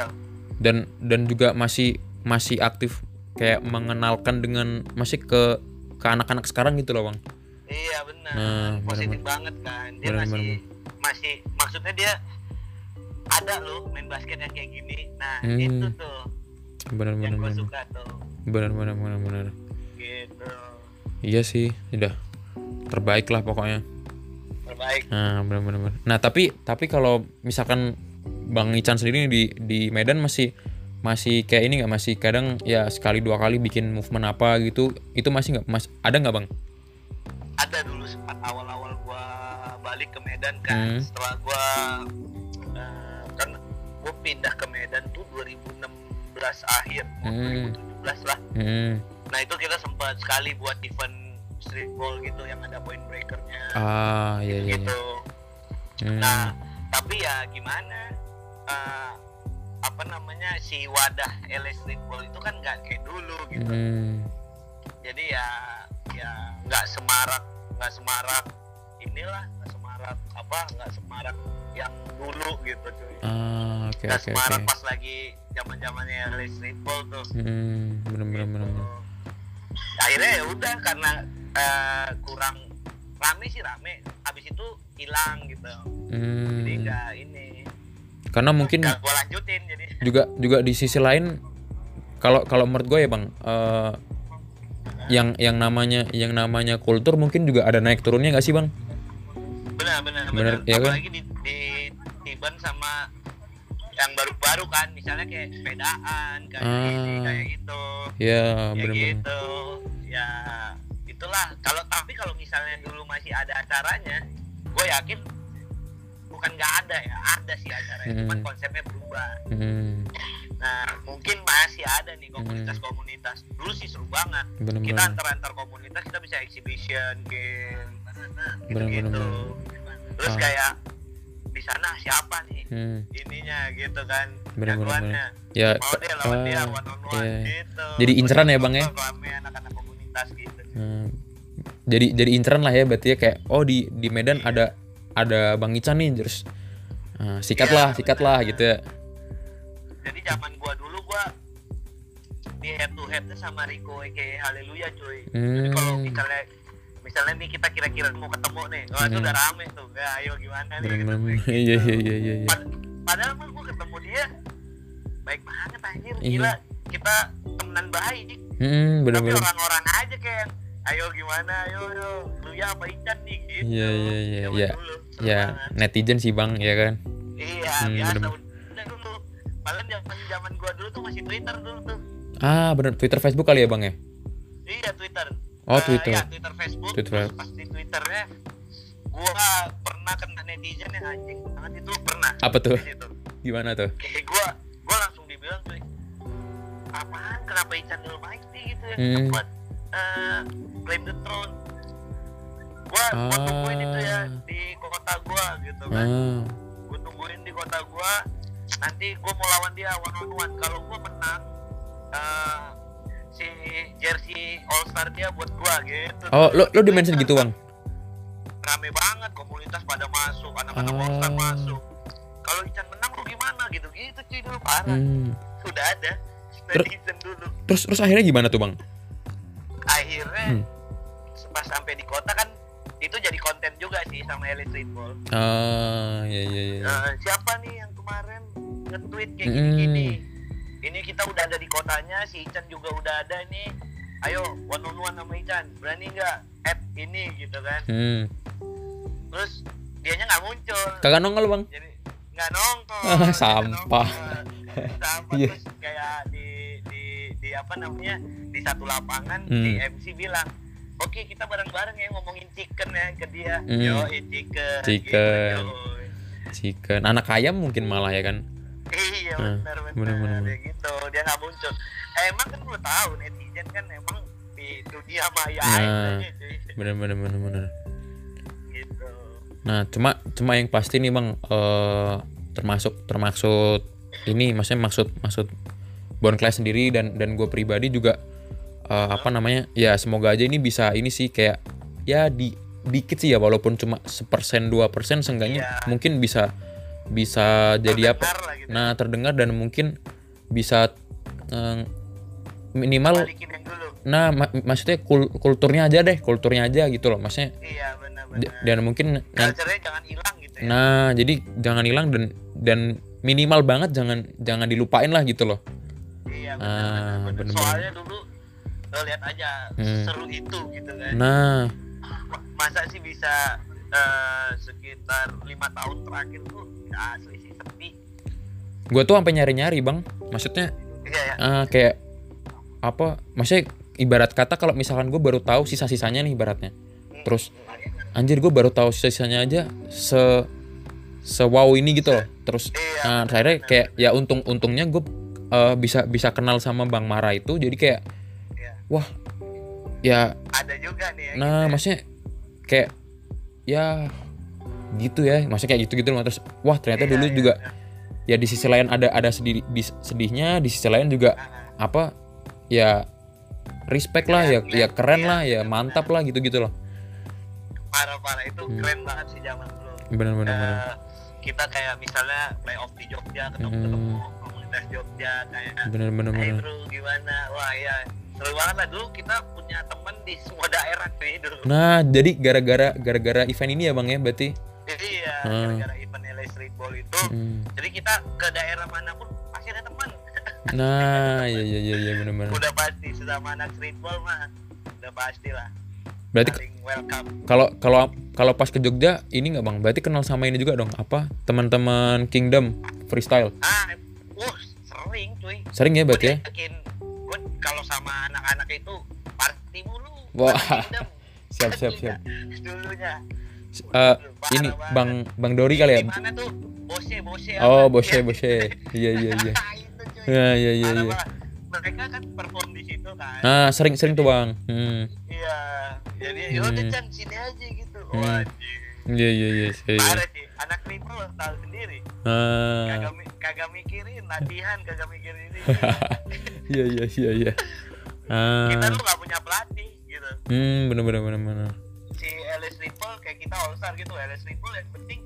dan dan juga masih masih aktif kayak mengenalkan dengan masih ke ke anak-anak sekarang gitu loh bang
Iya benar.
Nah, benar,
Positif banget kan. Dia
Benar,
masih
benar,
masih maksudnya dia ada loh main basket yang kayak gini. Nah,
Hmm,
itu tuh yang gue
bener-bener
suka tuh.
bener-bener bener-bener
Gitu.
iya sih udah terbaik lah pokoknya
Terbaik.
nah bener-bener nah tapi tapi kalau misalkan bang Ican sendiri di di Medan masih masih kayak ini nggak masih kadang ya sekali dua kali bikin movement apa gitu itu masih nggak mas ada nggak bang
Ada dulu sempat awal-awal gua balik ke Medan
Hmm.
kan. Setelah gua eh, kan gue pindah ke Medan tuh 2016 akhir,
Hmm.
2017 lah.
hmm.
Nah, itu kita sempat sekali buat event streetball gitu yang ada point breakernya
Ah, iya iya. iya.
gitu.
Hmm.
Nah, tapi ya gimana? Eh, apa namanya si wadah LA Streetball itu kan nggak kayak dulu gitu
Hmm.
jadi ya ya nggak semarak nggak semarak inilah nggak semarak apa nggak semarak yang dulu gitu cuy
Ah, oke
nggak
oke
semarak
oke.
pas lagi zaman zamannya LA Streetball tuh Gitu.
Hmm, bener bener bener. bener.
akhirnya ya udah karena eh, kurang rame sih rame habis itu hilang gitu
Hmm.
jadi nggak ini
Karena mungkin
nggak gua lanjutin jadi
juga juga di sisi lain kalau kalau menurut gue ya bang eh, yang yang namanya yang namanya kultur mungkin juga ada naik turunnya nggak sih bang?
benar benar benar
Benar, iya kan?
apalagi di, di tiban sama yang baru-baru kan misalnya kayak sepedaan kayak
Ah.
ini kayak itu
Ya
ya
bener bener.
gitu ya itulah kalau tapi kalau misalnya dulu masih ada acaranya gue yakin bukan nggak ada ya ada sih acaranya
Hmm.
cuman konsepnya berubah
Hmm,
nah mungkin masih ada nih komunitas-komunitas dulu sih seru banget
bener
kita
bener.
antar antar komunitas kita bisa exhibition game gitu
Bener, bener,
gitu terus
Ah.
kayak di sana siapa nih
Hmm,
ininya gitu kan
Bener, bener,
jagoannya
ya.
mau dia lawan dia
ah,
one on one
iya.
gitu
Jadi inceran ya, Bang, ya?
rame anak-anak komunitas gitu
Hmm. jadi jadi inceran lah ya berarti ya kayak oh di di Medan ada ada Bang Ican nih terus ah, sikat
Iya,
lah sikat lah
bener.
gitu ya.
jadi zaman gua dulu gua di head to headnya sama Rico aka Haleluya cuy Jadi kalau
Hmm,
misalnya misalnya nih kita kira-kira mau ketemu nih oh itu
Hmm.
udah rame tuh ya ayo gimana nih
bener
gitu.
bener. [LAUGHS] Iya iya iya iya. iya.
Pad- padahal mah gue ketemu dia baik banget anjir
Iya.
gila kita temenan baik
Hmm, bener
tapi
bener.
orang-orang aja kayak yang, ayo gimana ayo ayo lu ya apa Ican nih gitu
Iya, iya, iya,
Zaman
iya.
dulu, seru
Ya
banget.
netizen sih bang ya kan.
iya
Hmm,
biasa
bener.
udah dulu Padahal zaman zaman gua dulu tuh masih Twitter dulu tuh
Ah bener Twitter Facebook kali ya bang ya.
iya Twitter
Oh,
Eh,
Twitter.
iya Twitter Facebook
Twitter.
terus pas di Twitternya gua pernah kena netizen yang anjing banget itu pernah
Apa tuh?
di situ.
Gimana tuh?
kayak gua gua langsung dibilang tuh apaan kenapa Ican dulu baik sih gitu ya
Hmm.
buat eh, claim the throne gua gua
Ah.
tungguin itu ya di kota gua gitu kan
Ah,
gua tungguin di kota gua nanti gua mau lawan dia one on one kalau gua menang eh, si jersey all star dia buat gua gitu
Oh lo lo dimention gitu bang?
rame banget komunitas pada masuk anak-anak all star
Ah.
masuk kalau Ican menang lu gimana gitu gitu cuy dulu parah
Hmm.
sudah ada
Ter-
netizen dulu
Terus terus akhirnya gimana tuh bang?
akhirnya
Hmm.
pas sampai di kota kan itu jadi konten juga sih sama Elite Streetball
Ah ya ya ya.
Eh, siapa nih yang kemarin nge-tweet kayak
Mm.
gini-gini ini kita udah ada di kotanya si Ican juga udah ada nih ayo one on one sama Ican berani nggak app ini gitu kan
Hmm.
terus dianya nggak muncul
Kagak nongol bang?
jadi nggak
[LAUGHS]
nongkrong
Ah,
nggak
sampah.
nongkrong. sampah
[LAUGHS] Iya.
terus kayak di di di apa namanya di satu lapangan
Hmm.
di MC bilang oke kita bareng-bareng ya ngomongin chicken ya ke dia
Hmm.
yo chicken
Chicken.
gitu, yoi.
Chicken. Anak ayam mungkin malah ya kan?
[LAUGHS] iya
Hmm,
benar
bener, bener,
benar
bener.
ya gitu dia nggak muncul eh, emang kan lu tahu netizen kan emang di dunia maya
Nah.
ya aja cuy.
Bener bener bener bener.
gitu
Nah, cuma cuma yang pasti nih Bang eh termasuk termaksud ini maksudnya maksud maksud Bonclass sendiri dan dan gue pribadi juga eh, apa namanya? Ya semoga aja ini bisa ini sih kayak ya di dikit sih ya walaupun cuma sepersen dua persen seenggaknya
Iya.
mungkin bisa bisa jadi apa?
Terdengar lah gitu.
Nah terdengar dan mungkin bisa eh, minimal
balikin yang dulu
nah ma- maksudnya kul- kulturnya aja deh kulturnya aja gitu loh maksudnya
iya benar
D-
benar
dan mungkin nan-
culture-nya jangan hilang gitu ya
Nah, jadi jangan hilang dan dan minimal banget jangan jangan dilupain lah gitu loh.
Iya
Ah,
benar.
bener-bener.
Soalnya dulu lo lihat aja
Hmm.
seru itu gitu kan.
Nah,
Ma- Masa sih bisa eh, sekitar lima tahun terakhir tuh ya asli sih sepi. [LAUGHS]
gue tuh sampai nyari-nyari bang. Maksudnya
Iya ya.
ah, kayak apa? Maksudnya ibarat kata kalau misalkan gue baru tahu sisa-sisanya nih ibaratnya. Terus anjir gue baru tahu sisa-sisanya aja se se wow ini gitu loh. Terus
Iya.
nah, terus akhirnya kayak ya untung-untungnya gue eh, bisa bisa kenal sama Bang Mara itu. Jadi kayak
Iya.
wah ya
Ada juga nih ya.
nah
gitu.
maksudnya kayak ya gitu ya maksudnya kayak gitu gitu loh terus wah ternyata
Iya,
dulu
iya,
juga ya
iya.
di sisi lain ada ada sedih di, sedihnya di sisi lain juga
Nah.
apa ya respect lah ya ya keren
iya,
lah ya mantap lah gitu gitu loh
parah parah itu
Hmm.
keren banget sih zaman dulu
bener bener bener
Eh, kita kayak misalnya playoff di Jogja ketemu
Hmm.
ketemu komunitas Jogja kayak
bener bener
hey
bener
bro gimana wah ya seru banget lah dulu kita punya temen di semua daerah gitu. sih dulu
nah jadi gara-gara gara-gara event ini ya bang ya berarti
jadi ya
Hmm.
gara-gara event LA Streetball itu
Hmm.
jadi kita ke daerah manapun pasti ada teman
nah ya ya ya ya bener bener
[LAUGHS] udah pasti sesama anak streetball mah udah pasti lah
berarti
paling welcome
kalau kalau kalau pas ke Jogja ini nggak bang berarti kenal sama ini juga dong apa teman-teman Kingdom freestyle
ah uh sering cuy
sering ya
gue
berarti ya
yakin gue kalau sama anak-anak itu party mulu
Wah.
party dendam.
[LAUGHS] siap siap siap
dulunya
Eh, ini bang bang Dori kali ya
gimana tuh bose bose
oh
apa?
boshe
Ya,
boshe iya iya iya
[LAUGHS] itu cuy
iya iya iya
Parah
iya.
banget. mereka kan perform di situ kan
nah sering sering tuh bang hmm.
iya
Hmm.
jadi lo decan sini aja gitu
Hmm.
wajib
iya iya iya iya, iya.
parah sih anak ribu lo tahu sendiri
ah [LAUGHS]
kagak mi- kagak mikirin latihan kagak mikirin ini
iya iya iya iya
kita
ah
tuh nggak punya pelatih gitu
hmm bener bener bener bener
si LS Ripple kayak kita all star gitu LS Ripple yang penting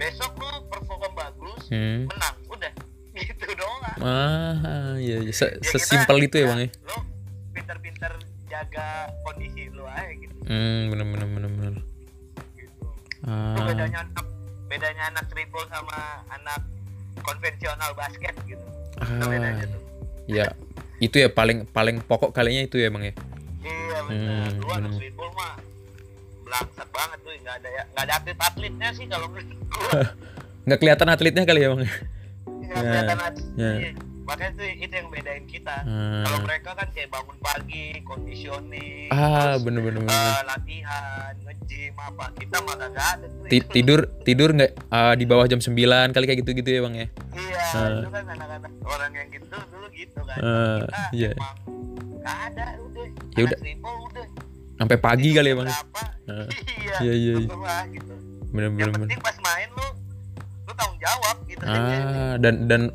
besok lu perform bagus
hmm
menang udah [LAUGHS] gitu doang
ah iya iya Se-
Ya,
sesimpel
kita-
itu ya bang ya
lu pinter-pinter jaga kondisi lu aja gitu
hmm bener bener bener bener
gitu Itu
ah
bedanya anak bedanya anak Ripple sama anak konvensional basket gitu itu
Ah.
bedanya tuh
ya itu ya paling paling pokok kalinya itu ya bang ya
iya benar
Hmm,
lu anak
bener.
Ripple mah belangsat banget tuh nggak ada ya nggak ada atlet atletnya sih kalau menurut
[LAUGHS]
gua
nggak kelihatan atletnya kali ya bang ya
Iya,
Ya,
kelihatan aja.
ya.
Iya. Makanya tuh itu yang bedain kita.
Hmm.
Kalau mereka kan kayak bangun pagi, conditioning,
ah
terus,
bener bener bener
eh, latihan, nge-gym apa. Kita mah kagak ada tuh. ya.
Ti- tidur tidur nggak ah, di bawah jam 9 kali kayak gitu gitu ya bang ya
Iya, itu kan anak-anak orang yang gitu dulu gitu kan.
Ah,
kita
iya.
emang gak ada udah.
Ya udah.
Triple, udah.
sampai pagi kali ya bang ya?
Berapa?
Ah.
[LAUGHS] iya.
Iya, iya, iya.
terserah gitu.
bener
Yang
bener bener
penting pas main lu lu tanggung jawab gitu.
ah dan dan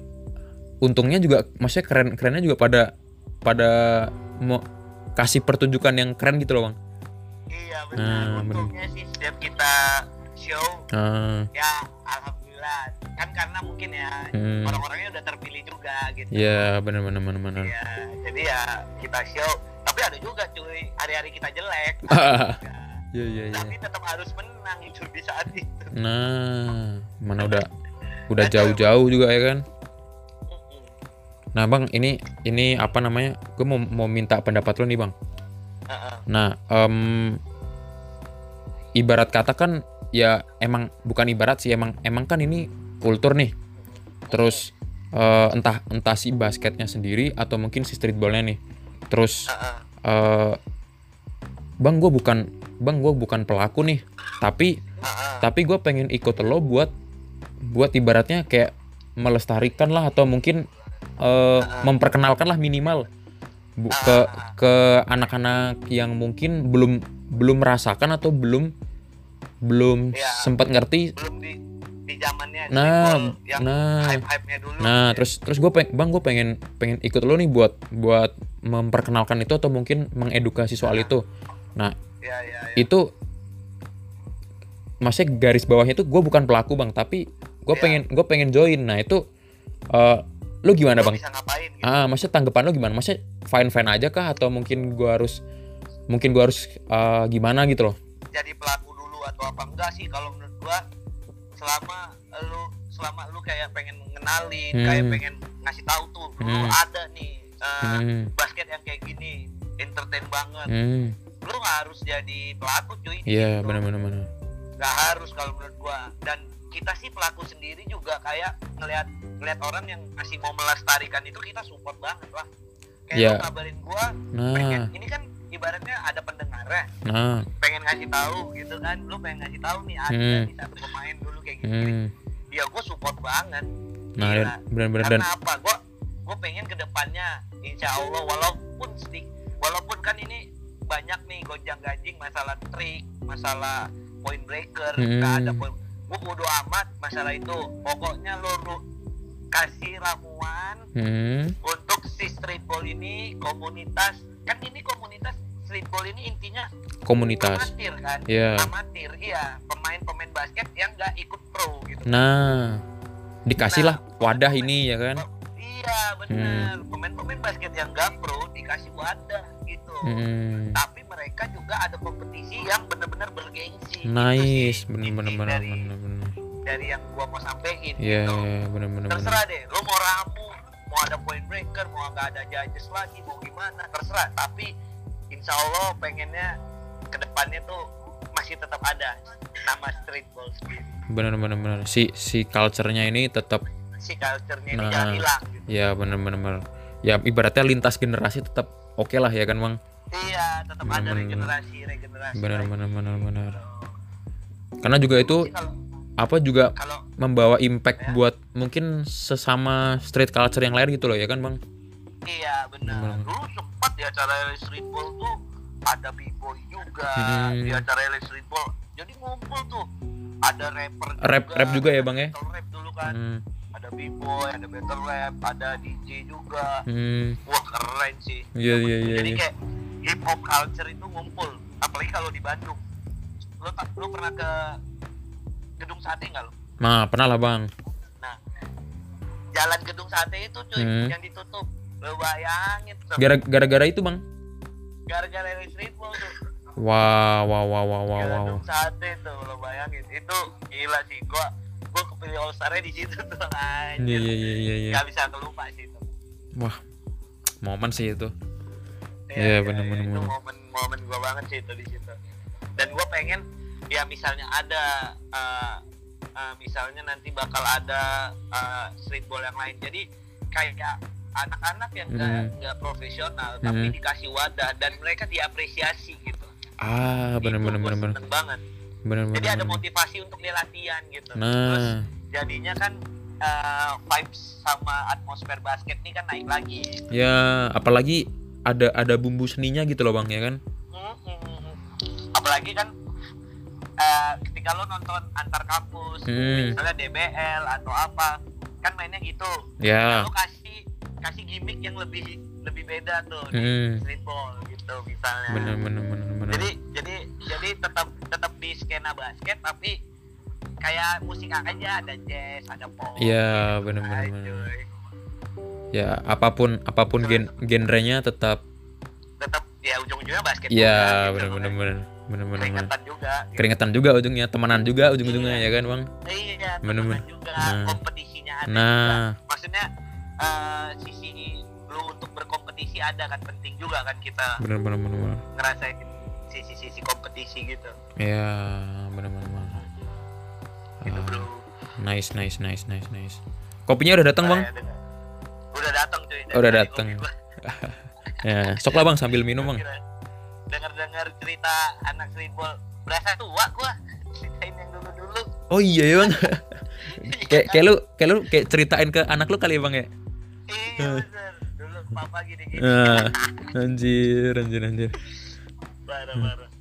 untungnya juga maksudnya keren kerennya juga pada pada mau kasih pertunjukan yang keren gitu loh bang
Iya
Ah,
benar.
bener.
Untungnya sih setiap kita show
ah
ya alhamdulillah kan karena mungkin ya
Hmm.
orang-orangnya udah terpilih juga gitu
ya bener bener bener bener [LAUGHS]
ya jadi ya kita show tapi ada juga cuy hari-hari kita jelek
Ah,
Ya,
iya iya iya
tapi tetap harus menang itu di saat itu
nah mana udah udah jauh-jauh juga ya kan Nah bang, ini ini apa namanya? Gue mau mau minta pendapat lo nih bang.
Heeh.
Nah, em, ibarat kata kan ya emang bukan ibarat sih emang emang kan ini kultur nih. Terus eh, entah entah si basketnya sendiri atau mungkin si streetballnya nih. Terus
Heeh.
eh, bang gue bukan bang gue bukan pelaku nih, tapi
Heeh.
tapi gue pengen ikut lo buat buat ibaratnya kayak melestarikan lah atau mungkin eh, memperkenalkan lah minimal Bu- ke ke anak-anak yang mungkin belum belum merasakan atau belum belum
Iya.
sempat ngerti
belum di di zamannya
nah
streetball yang
nah
hype-hype nya dulu
nah terus terus gue bang gue pengen pengen ikut lo nih buat buat memperkenalkan itu atau mungkin mengedukasi soal itu nah
ya ya ya
itu maksudnya garis bawahnya itu gue bukan pelaku bang tapi gue
Iya.
pengen gue pengen join nah itu eh lu gimana
Lu
bang
bisa ngapain gitu
ah maksudnya tanggapan lu gimana maksudnya fine fine aja kah atau mungkin gue harus mungkin gue harus eh, gimana gitu loh
jadi pelaku dulu atau apa enggak sih kalau menurut gua selama lu selama lu kayak pengen mengenalin
Hmm.
kayak pengen ngasih tahu tuh lu
Hmm.
ada nih uh,
hmm
basket yang kayak gini entertain banget
hmm
lu nggak harus jadi pelaku cuy
iya
Gitu.
benar benar benar
nggak harus kalau menurut gua dan kita sih pelaku sendiri juga kayak ngelihat ngelihat orang yang masih mau melestarikan itu kita support banget lah kayak
Iya.
lu kabarin gua pengen
nah
ini kan ibaratnya ada pendengarnya
nah
pengen ngasih tahu gitu kan lu pengen ngasih tahu nih ada
Hmm.
nih satu pemain dulu kayak gini, gini.
hmm
ya gue support banget
nah
Gila.
benar benar dan
karena apa gue gue pengen kedepannya insya allah walaupun stik walaupun kan ini banyak nih gonjang ganjing masalah trik masalah point breaker
Hmm.
nggak ada point gue bodo amat masalah itu pokoknya lo ru- kasih ramuan
Hmm.
untuk si streetball ini komunitas kan ini komunitas streetball ini intinya
Komunitas.
amatir kan
Iya.
amatir iya pemain-pemain basket yang nggak ikut pro gitu
Nah, dikasihlah
Nah.
wadah ini ya kan. Hmm.
iya benar pemain-pemain basket yang nggak pro dikasih wadah gitu
Hmm.
tapi mereka juga ada kompetisi yang benar-benar bergengsi
Nice,
Itu sih
bener bener
inti
bener
dari,
bener bener.
dari yang gua mau sampein
Iya,
gitu
iya, bener bener bener.
terserah deh lo mau ramu mau ada point breaker mau nggak ada judges lagi mau gimana terserah tapi insya Allah pengennya kedepannya tuh masih tetap ada nama streetball sendiri
Bener bener bener. Si si culture-nya ini tetap
si culture-nya ini
Nah.
jangan hilang gitu.
ya bener bener bener. Ya ibaratnya lintas generasi tetap oke lah ya kan, Bang.
iya tetap ada
Bener-bener.
regenerasi regenerasi
Bener
lagi.
bener bener bener. Karena juga itu
Jadi kalau
apa juga
kalau
membawa impact
Ya.
buat mungkin sesama street culture yang lain gitu loh ya kan bang
iya benar
Bener-bener.
dulu sempat di acara streetball tuh ada b-boy juga
Hmm.
di acara streetball jadi ngumpul tuh ada rapper
Rap- rap juga ya, Bang, ya?
battle rap dulu kan
hmm,
ada b-boy, ada battle rap, ada DJ juga.
hmm,
Wah keren sih.
iya iya iya
Jadi
iya.
kayak hip hop culture itu ngumpul, apalagi kalau di Bandung. Lo ta- lo pernah ke gedung sate nggak lo?
nah pernah lah bang
Nah, jalan gedung sate itu cuy
Hmm.
yang ditutup. Lo bayangin Sob.
Gara- gara-gara itu bang
gara-gara dari streetball tuh.
wow wow wow wow wow, wow.
Gedung sate tuh lo bayangin. Itu gila sih gua gua kepilih all star di situ tuh anjir.
iya iya iya iya iya
Nggak bisa kelupa sih itu.
wah momen sih itu Iya,
Iya
bener, bener,
itu
bener.
momen-momen gue banget sih itu di situ. Dan gue pengen ya misalnya ada eh, eh, misalnya nanti bakal ada eh, streetball yang lain. Jadi kayak anak-anak yang nggak
Mhm.
nggak profesional tapi
Mhm.
dikasih wadah dan mereka diapresiasi gitu.
ah bener
Itu
bener
gua
bener bener
seneng banget.
bener
Jadi
bener
ada
bener.
motivasi untuk dia latihan gitu. Terus
nah
jadinya kan eh, vibes sama atmosfer basket ini kan naik lagi.
ya apalagi ada ada bumbu seninya gitu loh bang ya kan
Mm-mm. apalagi kan eh, ketika lo nonton antar kampus
Hmm.
misalnya DBL atau apa kan mainnya gitu
ya
lo kasih kasih gimmick yang lebih lebih beda tuh
Hmm.
di streetball gitu misalnya
bener bener bener bener
jadi jadi jadi tetap tetap di skena basket tapi kayak musik aja ada jazz ada pop
Iya, bener-bener.
Ay, cuy.
ya apapun apapun gen genrenya tetap
tetap ya ujung-ujungnya basket gitu.
ya bener bener bener bener bener bener
keringetan juga gitu.
keringetan juga ujungnya temanan juga ujung-ujungnya ya kan bang
Iya,
Bener-bener.
temenan juga
Nah.
kompetisinya ada.
nah
juga. Maksudnya eh, sisi lu untuk berkompetisi ada kan penting juga kan kita
bener bener bener
Nah.
bener
ngerasain sisi-sisi kompetisi gitu.
ya bener bener bener
Gitu,
Ah,
Bro.
nice nice nice nice nice kopinya udah datang bang
Saya dengar. Udah datang cuy. dari
Udah
tadi
datang.
kopi gua.
ya sok lah bang sambil minum bang
Gila. Dengar-dengar cerita anak streetball berasa tua gua. Ceritain yang dulu-dulu.
oh iya ya bang kayak kayak lu kayak lu kayak ceritain ke anak lu kali ya bang ya
Iya,
Eh.
bener. Dulu papa gini-gini.
Ah, anjir anjir anjir
Parah-parah.